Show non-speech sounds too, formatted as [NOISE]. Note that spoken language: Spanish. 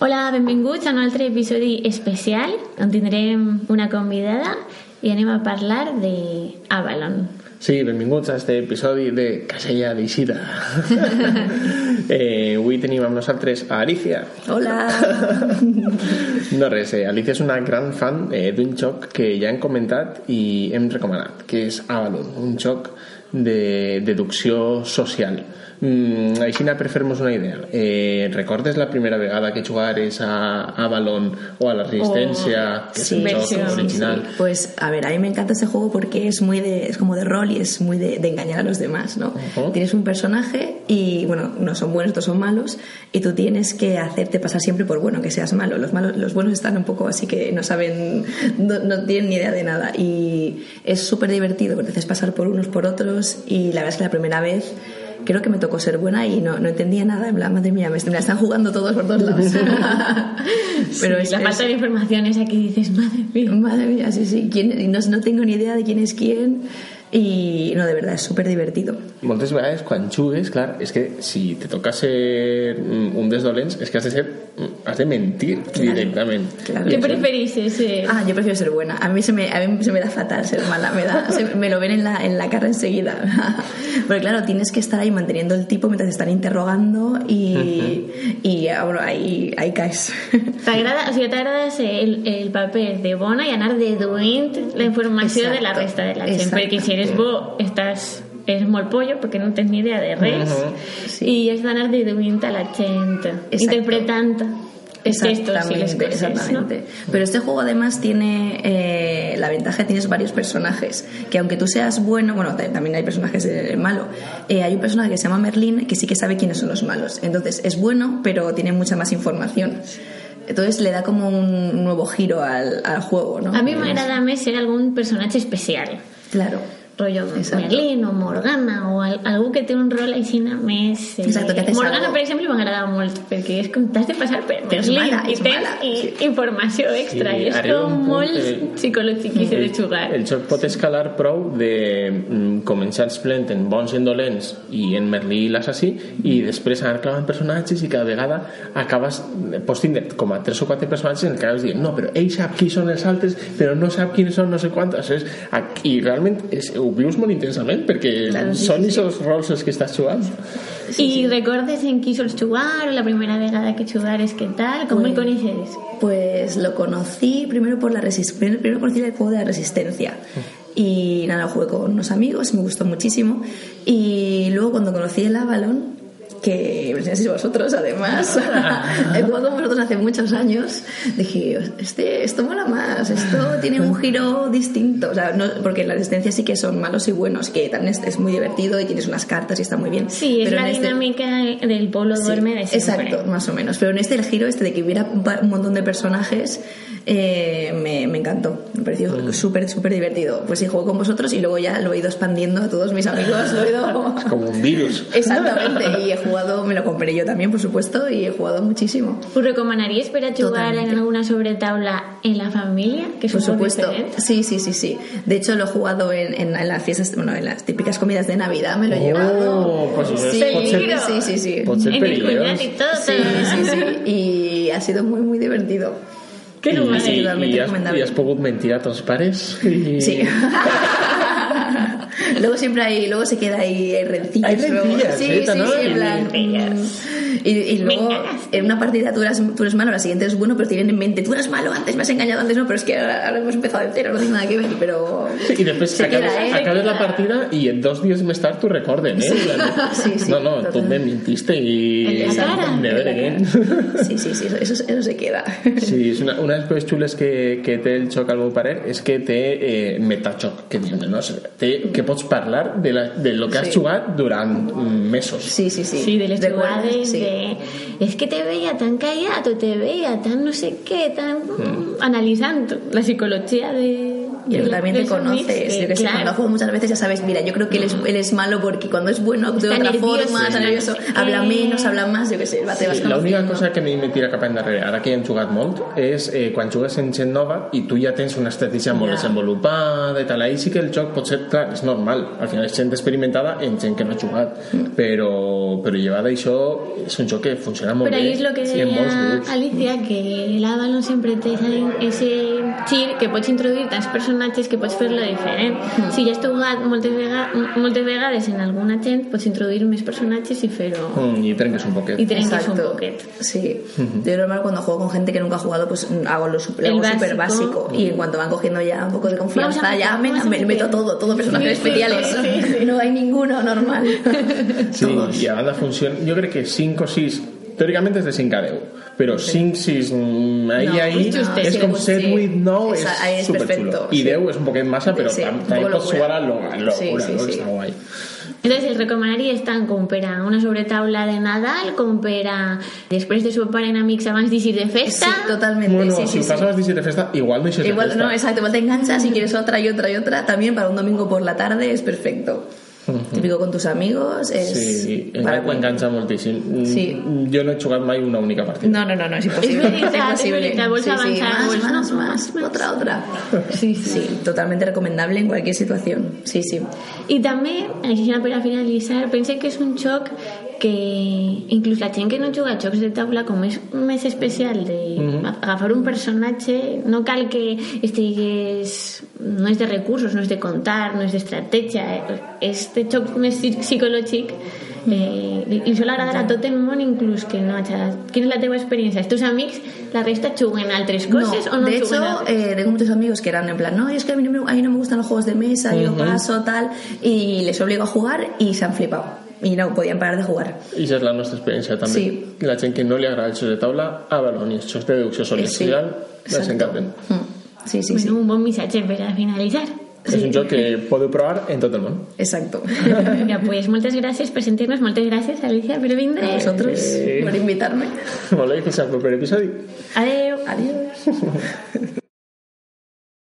Hola, benvinguts a un altre episodi especial on tindrem una convidada i anem a parlar de Avalon. Sí, benvinguts a este episodi de Casella d'Isida. eh, avui tenim amb nosaltres a Alicia. [LAUGHS] Hola! No res, eh, Alicia és una gran fan eh, d'un joc que ja hem comentat i hem recomanat, que és Avalon, un joc de deducció social. Mm, Aixina, per fer-nos una idea, eh, recordes la primera vegada que jugares a Avalon o a la Resistència, que Oh, sí, és un versió, joc sí. original? Pues a ver, a mí me encanta ese juego porque es muy de, es como de rol y es muy de, de engañar a los demás, ¿no? Ujú. Tienes un personaje y bueno, unos son buenos, otros son malos y tú tienes que hacerte pasar siempre por bueno, que seas malo. Los malos, los buenos están un poco así que no saben, no, no tienen ni idea de nada y es súper divertido porque te haces pasar por unos por otros y la verdad es que la primera vez creo que me tocó ser buena y no, no entendía nada, en plan, madre mía, me, me la están jugando todos por [LAUGHS] todos lados. [LAUGHS] Pero la falta de información es aquí dices, madre mía. Madre mía, sí, sí. ¿Quién- No, no tengo ni idea de quién es quién. Y no, de verdad, es súper divertido. Moltes vegades, quan jugues, clar, és que si te toca ser mm, un dels dolents, és que has de ser... mm, has de mentir directament. Claro. ¿Qué preferís ese? Ah, yo prefiero ser buena. A mí se me, a mí se me da fatal ser mala. Me, da, se- me lo ven en la, en la cara enseguida. [LAUGHS] Pero claro, tienes que estar ahí manteniendo el tipo mientras te están interrogando y, y ah, bueno, ahí, ahí caes. [LAUGHS] T'agrada, o sigui, t'agrada ser el, el paper de bona i anar deduint la informació Exacto, de la resta de la gent, exacto. perquè si eres bo estàs és molt pollo perquè no tens ni idea de res Mhm. sí. i has d'anar deduint a la gent, interpretant els textos i les coses, exactamente. Pero este juego además tiene eh, la ventaja que tienes varios personajes, que aunque tú seas bueno, bueno, ta- también hay personajes eh, malo, eh, hay un personaje que se llama Merlín que sí que sabe quiénes son los malos. Entonces es bueno, pero tiene mucha más información. Entonces le da como un nuevo giro al, al juego, ¿no? no? A mi m'agrada més ser algun personatge especial, Claro. rollo Exacto. Merlin o Morgana o al, algú que té un rol així més... eh, Exacto, que haces Morgana, algo. per exemple, m'agrada molt perquè és com t'has de passar per Però és Merlin mala, i és tens mala, i, sí. informació extra i és arriba com un punt molt que- Mm. psicològic i s'ha de jugar. El joc pot escalar prou de mm, començar els plent en bons i en dolents i en Merlí i l'assassí i després anar clavant personatges i cada vegada acabes postint com a tres o quatre personatges en el que acabes dient no, però ell sap qui són els altres però no sap quins són no sé quantes és, ac- i realment és, ho vius molt intensament perquè Claro, sí, són sí, sí, els rols els que estàs jugant I recordes en qui sols jugar o la primera vegada que jugares, què tal? Com Ui. el coneixes? Pues lo conocí primero por la resistencia, primero conocí el juego de la resistencia. Y nada, lo jugué con unos amigos, me gustó muchísimo. Y luego cuando conocí el Avalon, que me enseñasteis vosotros además, [LAUGHS] he jugado con vosotros hace muchos años, dije, este, esto mola más, esto tiene un giro distinto. O sea, no- porque en la resistencia sí que son malos y buenos, que también es, es muy divertido y tienes unas cartas y está muy bien. Sí, és Pero la en este- dinàmica del pueblo Sí, duerme de sempre. Exacto, más o menos. Pero en este el giro, este de que hubiera un pa- un montón de personajes, eh, me, me encantó. Me pareció súper, súper divertido. Pues sí, juego con vosotros y luego ya lo he ido expandiendo a todos mis amigos. Lo [LAUGHS] he ido... com un virus Exactamente, y he jugado, me lo compré yo también, por supuesto, y he jugado muchísimo. ¿Os recomanaríais para jugar en Totalmente. alguna sobretaula en la familia? Que es Por un poco supuesto. diferente. Sí, sí, sí, sí. De hecho, lo he jugado en, en- en las fiestas, bueno, en las típicas comidas de Navidad, me lo he Oh. llevado. pues, sí, pot ser- sí, sí, sí. pot ser En el cuñado perillós y todo. Sí, sí, sí. Y ha sido muy, muy divertido. [LAUGHS] Qué I, guay. i, totalmente i, has, recomendable. i has pogut mentir a tons pares i... Sí. [LAUGHS] luego siempre hay, luego se queda ahí hay rencillas. Hay luego. rencillas, sí, neta, sí, ¿no? sí, en plan, mm, Rencillas. Y, y luego ganaste. en una partida tú eras, tú eres malo, la siguiente eres bueno, pero tienen en mente, tú eras malo, antes me has engañado, antes no, pero es que ahora, ahora hemos empezado entero, no tiene nada que ver, pero... Sí, I després Se acabes, queda, eh, acabes se la partida i en dos dies més tard t'ho recorden, eh? Sí, sí, no, no, tu total. me mintiste i... En la cara. Never again. Sí, sí, sí, eso, eso, eso se queda. ¿eh? Sí, és una, una de les coses xules que, que té el xoc al meu parer és que té eh, metachoc, que diem, no? Té, que pots parlar de, la, de lo que has Sí. jugat durant mm, mesos. Sí, sí, sí. Sí, de las Recuerdas, jugadas sí. de... Es que te veía tan callado, te veía tan no sé qué, tan... Analizando la psicología de... y Lo- Mm. también te los conoces. uniste, Yo que sé, claro. Mm. cuando juego muchas veces ya sabes, mira, yo creo que él es, él es malo porque cuando es bueno Está actúa de otra nervioso, Eh, forma, está está nervioso, no sé qué. habla menos, habla más, yo que sé, va, te vas Sí, la única conociendo. cosa que a mi me tira cap endarrere ara que hi hem jugat molt és eh, quan jugues en gent nova i tu ja tens una estratègia molt Ja. desenvolupada i tal, ahí sí que el joc pot ser clar, és normal, al final és gent experimentada en gent que no ha jugat Mm. però, però llevat d'això és un joc que funciona molt Pero ahí bé es lo que i en molts decía grups. Alicia, Mm. que el Avalon siempre te da ese chip que puedes introduir tants personatges que pots fer-lo diferent. Mm. Si ja has jugat moltes, vega, moltes vegades en alguna gent, pots introduir més personatges i fer-ho... Mm, i trenques un poquet I trenques un Exacto. poquet. Sí. Yo normal cuando juego con gente que nunca ha jugado, pues mm, hago lo sup- lo El hago súper básico. básico. Y en cuanto van cogiendo ya un poco de confianza, Vamos a ya me, meter, vamos a me- me meto meter. todo, todo personajes Sí, sí, especiales. sí, No hay [LAUGHS] ninguno normal. Sí, i a banda funciona... Jo crec que 5 o 6... Teòricament és de 5 a 10, però 5, 6, mm, ahí, No, ahí, és justet, és sí, com sí. 7, 8, 9, Esa- ahí és és superxulo. perfecto, I sí. 10 és un poquet massa, però Sí, tam- un també poco pots locura. jugar a lo- a locura, Sí, sí, no? sí. Està guai. Entonces el recomanaria tant com per a una sobretaula de Nadal, com per a després de sopar en amics abans d'eixir de Sí, festa... totalmente. Bueno, sí, si sí, sí. pasabas 17 festa, igual no hiciste Igual, festa. no, exacto, igual te enganchas y quieres otra y otra y otra. También para un domingo por la tarde es perfecto. Típico con tus amigos, es. Sí, para engan- cual- engancha moltíssim. Sí. Mm, Jo no he jugat mai una única partida. No, no, no, no, es imposible. Es verdad, es imposible. verdad, vols avanzar, más, vols, más, no, más, más, más. [LAUGHS] Otra, otra. Sí, sí. Totalmente recomendable en cualquier situación. Sí, sí. I també, això per a finalitzar, pensem que és un xoc que inclús la gent que no juga a xocs de taula, com és més especial de Mhm. agafar un personatge, no cal que estigues... No és de recursos, no és de contar, no és d'estratègia, eh, és de xoc més psic- psicològic Eh, i sol agradar a tot el món inclús que no haja... Quina és la teva experiència? Els teus amics, la resta juguen a altres coses o no de juguen a... hecho, eh, tengo muchos amigos que eran en plan, no, es que a mí no me, a mí no me gustan los juegos de mesa, yo paso, tal, y les obligo a jugar y se han flipado. Y no podían parar de jugar. I això és la nostra experiència també. Sí. La gent que no li agrada els jocs de taula, a Balon i els jocs de deducció social, Sí. les encanten. Mm. Sí, sí, bueno, sí. un bon missatge per a finalitzar. És un joc que podeu provar en tot el món. Exacto. Mira, pues muchas gracias por sentirnos, muchas gracias Alicia por A vindre. vosotros Sí. [LAUGHS] por invitarme. Molt bé, fins al proper episodi. Adeu. Adiós.